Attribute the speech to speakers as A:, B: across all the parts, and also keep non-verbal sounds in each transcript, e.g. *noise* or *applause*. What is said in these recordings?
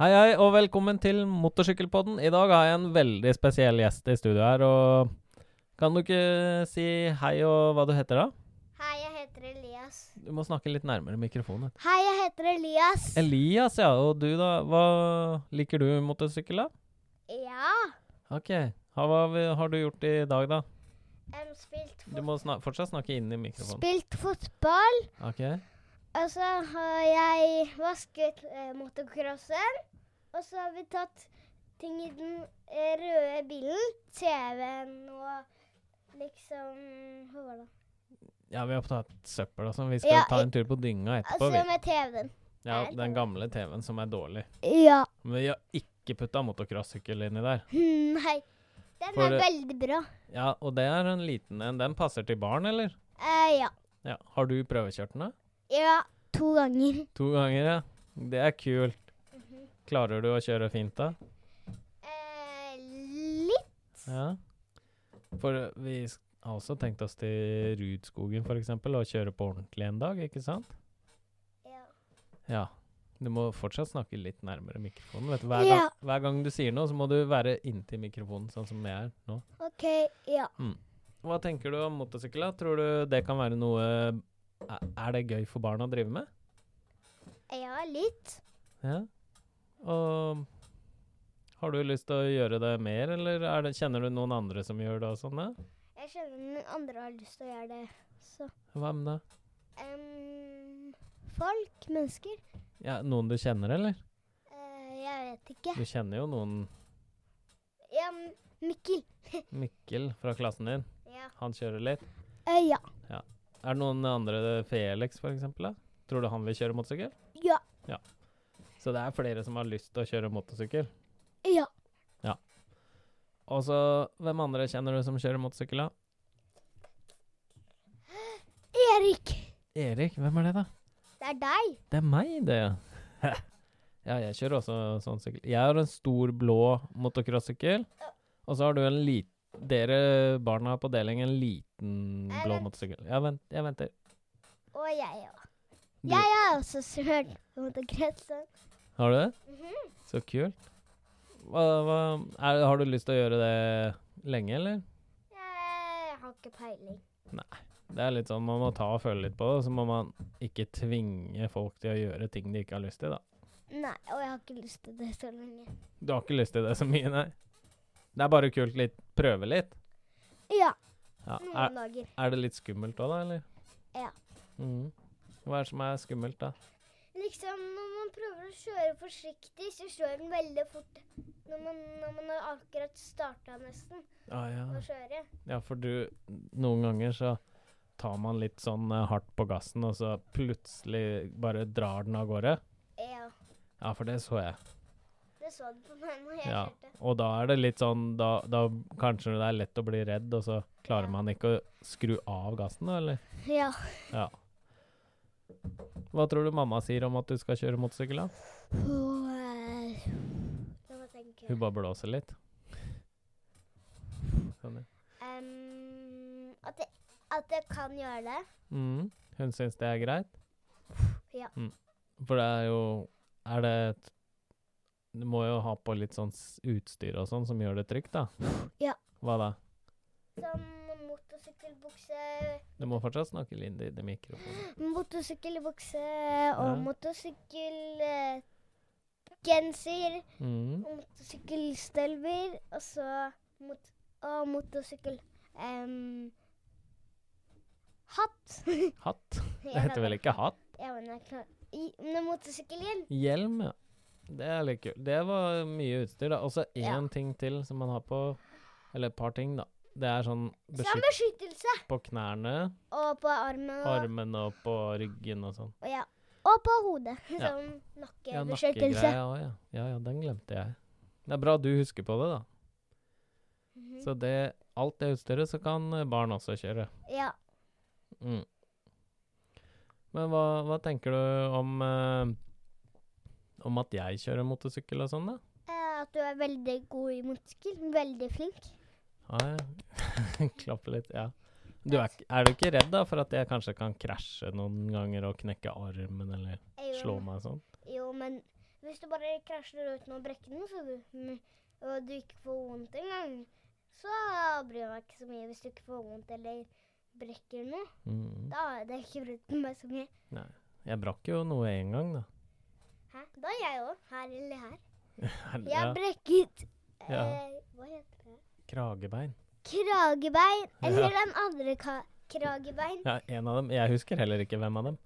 A: Hei, hei, og velkommen til Motorsykkelpodden. I dag har jeg en veldig spesiell gjest i studio her, og kan du ikke si hei og hva du heter da?
B: Hei, jeg heter Elias.
A: Du må snakke litt nærmere mikrofonen.
B: Hei, jeg heter Elias.
A: Elias, ja, og du da, hva liker du motorsykkel da?
B: ja.
A: Ok, ha, hva vi- har du gjort i dag da?
B: em, spilt,
A: Du
B: fot
A: må snak fortsatt snakke inn i mikrofonen.
B: spilt fotball.
A: Ok,
B: Og så har jeg vasket eh, motocrossen. Og så har vi tatt ting i den eh, røde bilen. TV-en og liksom Hva var det?
A: ja, vi har tatt søppel og sånn. Vi
B: Ja,
A: skal ta
B: i-
A: en tur på dynga etterpå.
B: Altså
A: vi.
B: med TV-en.
A: Ja, den gamle TV-en som er dårlig.
B: Ja.
A: Men vi har ikke puttet motocross-sykkel inni der.
B: Hmm, Nei. Den
A: For,
B: er
A: eh,
B: veldig bra.
A: Ja, og det er en liten en. Den passer til barn, eller?
B: Eh, ja.
A: Ja. Har du prøvekjørt den, da?
B: Ja. To ganger.
A: To ganger, ja. Det er kult. Klarer du å kjøre fint, da?
B: Eh, litt.
A: Ja. For eh, vi s- har også tenkt oss til Rudskogen, for eksempel, og kjøre på ordentlig en dag, ikke sant?
B: Ja.
A: Ja. Du må fortsatt snakke litt nærmere mikrofonen. vet du. Hver,
B: Ja.
A: gang, hver gang du sier noe, så må du være inntil mikrofonen, sånn som jeg er nå.
B: OK. Ja.
A: Hva tenker du om motorsykkel? da? Tror du det kan være noe Er er det gøy for barn å drive med?
B: Ja, litt.
A: Ja. Og har du lyst til å gjøre det mer, eller er det, kjenner du noen andre som gjør det og sånn? da?
B: Jeg skjønner men andre har lyst til å gjøre det. Så.
A: Hvem da?
B: em, folk, mennesker.
A: Ja, noen du kjenner, eller?
B: Eh, jeg vet ikke.
A: Du kjenner jo noen
B: Ja, men Mikkel.
A: Mikkel fra klassen din.
B: Ja.
A: Han kjører litt.
B: Eh, ja.
A: Er det noen andre Felix, for eksempel? da? Tror du han vil kjøre motorsykkel?
B: Ja.
A: Så det er flere som har lyst til å kjøre motorsykkel.
B: Ja.
A: Og så, hvem andre kjenner du som kjører motorsykkel, da?
B: Erik.
A: Erik, hvem er det, da?
B: Det er deg.
A: Det er meg, det. ja. *laughs* ja, jeg kjører også sånn sykkel. Jeg har en stor blå motocrossykkel, og så har du en liten Dere barna på deling en liten
B: Jeg
A: blå
B: vent-
A: motorsykkel. Jeg, vent, jeg venter.
B: Og jeg òg.
A: Du-
B: Jeg har også smørt mot grensen.
A: Har du det? Så kult. Hva, hva, er, har du lyst til å gjøre det lenge, eller?
B: Jeg har ikke peiling.
A: Det er litt sånn man må ta og føle litt på det, og så må man ikke tvinge folk til å gjøre ting de ikke har lyst til, da.
B: Nei, og jeg har ikke lyst til det så lenge.
A: Du har ikke lyst til det så mye, nei. Det er bare kult litt prøve litt.
B: Ja,
A: Ja,
B: noen
A: er,
B: dager.
A: Er det litt skummelt òg, da, eller?
B: Ja.
A: Mhm. Hva er det som er skummelt, da?
B: Liksom, når man prøver å kjøre forsiktig, så kjører den veldig fort. Når man, når man har akkurat starta nesten
A: Ah,
B: å
A: ja.
B: kjøre.
A: ja, for du Noen ganger så tar man litt sånn eh, hardt på gassen, og så plutselig bare drar den av gårde.
B: Ja,
A: Ja, for det så jeg.
B: det så du på meg når jeg
A: Ja.
B: kjørte.
A: Og da er det litt sånn Da, da kanskje det er lett å bli redd, og så klarer man ikke å skru av gassen, da, eller?
B: Ja.
A: Ja. Hva tror du mamma sier om at du skal kjøre motorsykkel, da?
B: Og, eh, La meg tenke.
A: Hun bare blåser litt. Sånn, ja.
B: Em, at, jeg, at jeg kan gjøre det.
A: Mm. Hun syns det er greit?
B: Ja.
A: Mm. For det er jo Er det et Du må jo ha på litt sånn s- utstyr og sånn som gjør det trygt, da.
B: Ja.
A: Hva da?
B: Som motorsykkelbukse,
A: Du må fortsatt snakke litt inn i mikrofonen.
B: motorsykkelbukse
A: Ja.
B: og motorsykkelgenser
A: Mm.
B: og motorsykkelstølver og så mot, og motorsykkel em, hatt.
A: Hatt. Det heter vel ikke hatt?
B: Ja, men jeg klarer I- men motorsykkelhjelm.
A: Hjelm, ja. Det er litt kult. Det var mye utstyr, da. Og så én
B: Ja.
A: ting til som man har på Eller et par ting, da. Det er sånn
B: Som
A: beskytt
B: beskyttelse.
A: på knærne,
B: Og på armen og,
A: armene og på ryggen og sånn.
B: og, ja. og på hodet. *laughs*
A: Ja.
B: sånn Som
A: Ja,
B: nakkebeskyttelse.
A: nakkegreia òg, ja. ja. Ja, den glemte jeg. Det er bra du husker på det, da.
B: Mhm.
A: Så det, alt det utstyret så kan eh, barn også kjøre.
B: ja.
A: Mm. Men hva, hva tenker du om eh, om at jeg kjører motorsykkel og sånn, da?
B: Eh, At du er veldig god i motorsykkel. Veldig flink.
A: Ja, ja. *laughs* Klappe litt, ja. Du er, ikk- er du ikke redd da for at jeg kanskje kan krasje noen ganger og knekke armen eller
B: Eh, Jo,
A: slå meg og sånn?
B: Jo, men Hvis du bare krasjer uten å brekke den, så du, mm, og du ikke får vondt engang, så bryr jeg meg ikke så mye hvis du ikke får vondt eller brekker noe.
A: Mm.
B: Da har jeg ikke brydd meg så mye.
A: Jeg brakk jo noe en gang, da.
B: Hæ? Da er jeg òg. Her eller her. Jeg
A: Ja,
B: brekket
A: Ja.
B: eh, Hva heter det?
A: kragebein.
B: Kragebein. Eller
A: Ja.
B: den andre ka kragebein.
A: Ja, en av dem. Jeg husker heller ikke hvem av dem.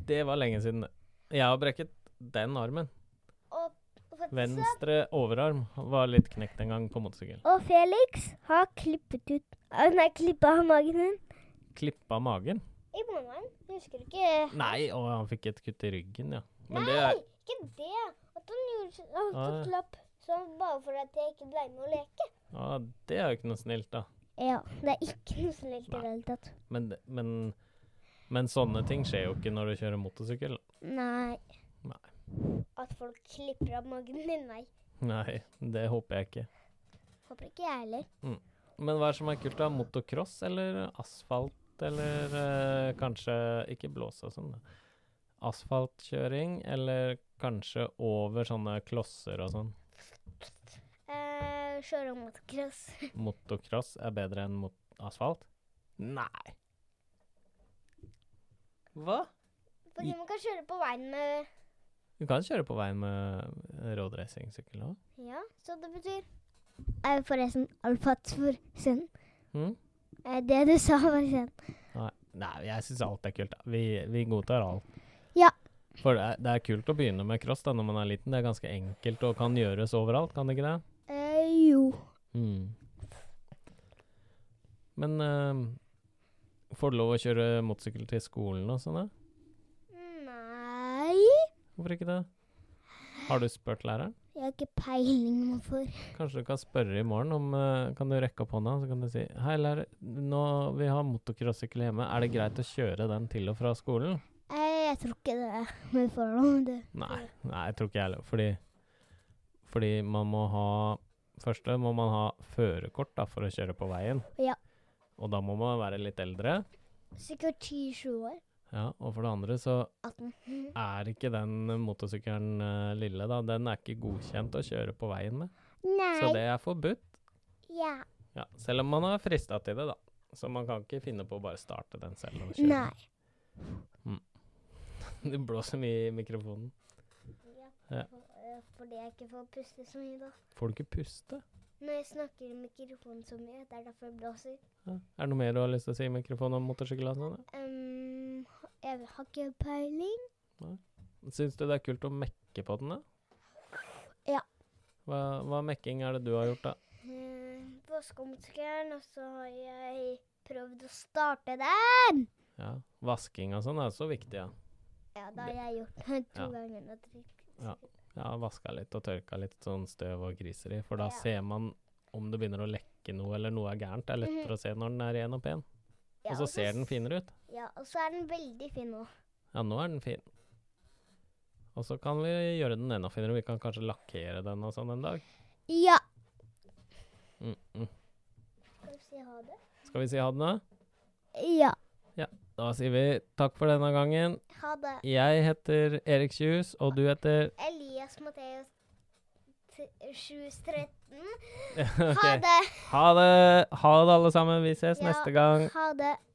A: Det var lenge siden. Jeg har brekket den armen.
B: Og, faktisk så-
A: Venstre overarm var litt knekt en gang på motorsykkel.
B: og Felix har klippet ut ah, Nei, klippa av magen din.
A: Klippa magen.
B: I morgen. Husker du ikke
A: Nei, og han fikk et kutt i ryggen, ja. Men det er
B: Nei, ikke det. At han gjorde så- at han
A: Ah.
B: slapp sånn bare for at jeg ikke ble med å leke.
A: Ja, det er jo ikke noe snilt, da.
B: Ja, det er ikke noe snilt i det
A: Nei.
B: hele tatt.
A: Men, det- men, men sånne ting skjer jo ikke når du kjører motorsykkel.
B: Nei.
A: Nei.
B: At folk klipper av magen din, nei.
A: Nei, det håper jeg ikke.
B: Håper ikke jeg heller.
A: Men hva er det som er kult, da? Motocross eller asfalt? Eller eh, kanskje Ikke blåse og sånn, da. Asfaltkjøring, eller kanskje over sånne klosser og sånn.
B: Eh, Kjøre motocross. *laughs*
A: Motocross er bedre enn mot asfalt? Nei. Hva?
B: Fordi man kan kjøre på veien med
A: Du kan kjøre på veien med rådracingsykkel òg.
B: Ja, så det betyr Er jo forresten alfat for synd.
A: Mm?
B: Eh, Det du sa, var synd.
A: Nei. Nei, jeg syns alt er kult. da. Vi, vi godtar alt.
B: Ja.
A: For det er, det er kult å begynne med cross da når man er liten. Det er ganske enkelt og kan gjøres overalt, kan det ikke det?
B: Eh, jo.
A: Mm. Men eh, får du lov å kjøre motorsykkel til skolen og sånn? da?
B: Nei
A: Hvorfor ikke det? Har du spurt læreren?
B: Jeg har ikke peiling hvorfor.
A: Kanskje du kan spørre i morgen om eh, Kan du rekke opp hånda, så kan du si Hei, lærer, nå vi har motocrossykkel hjemme. Er det greit å kjøre den til og fra skolen?
B: Eh, jeg tror ikke det. Men forhold det.
A: Nei, nei jeg tror ikke jeg heller. Fordi, fordi man må ha Først må man ha førerkort da, for å kjøre på veien.
B: Ja.
A: Og da må man være litt eldre.
B: Sikkert 10-20 år.
A: Ja, og for det andre så
B: 18.
A: er ikke den motorsykkelen eh, lille, da. Den er ikke godkjent å kjøre på veien med. Så
B: Nei.
A: det er forbudt.
B: Ja.
A: Ja, selv om man er frista til det, da. Så man kan ikke finne på å bare starte den selv og kjøre.
B: Nei.
A: *laughs* Det blåser mye i mikrofonen. Ja.
B: Fordi jeg ikke får puste så mye, da.
A: Får du ikke puste?
B: Når jeg snakker i mikrofonen så mye, det er derfor jeg blåser.
A: Ja. Er det noe mer du har lyst til å si i mikrofonen om motorsykkel? og sånn, da?
B: Ehm, jeg har ikke peiling.
A: Syns du det er kult å mekke på den, da?
B: Ja.
A: Hva, hva mekking er det du har gjort, da?
B: Ehm, Påskemotorsykkelen, og så har jeg prøvd å starte den.
A: Ja, Vasking og sånn er så viktig, ja.
B: Ja, da har jeg gjort det to
A: Ja.
B: ganger. og tre.
A: Ja, Vaska litt og tørka litt sånn støv og griser i, for da
B: Ja.
A: ser man om det begynner å lekke noe eller noe er gærent. Det er lettere å se når den er ren og pen.
B: Mhm. Ja,
A: Og så ser den
B: s-
A: finere ut.
B: Ja, og så er den veldig fin nå.
A: Ja, nå er den fin. Og så kan vi gjøre den enda finere. Vi kan kanskje lakkere den og sånn en dag.
B: Ja.
A: Mm -mm.
B: Skal vi si ha det?
A: Skal vi si ha det nå?
B: Ja.
A: Da sier vi takk for denne gangen.
B: Ha det.
A: Jeg heter Erik Kjus, og du heter
B: Elias Matheus t- 713.
A: *laughs* Ok.
B: Ha det!
A: Ha det! Ha det, alle sammen. Vi ses
B: Ja,
A: neste gang.
B: Ha det.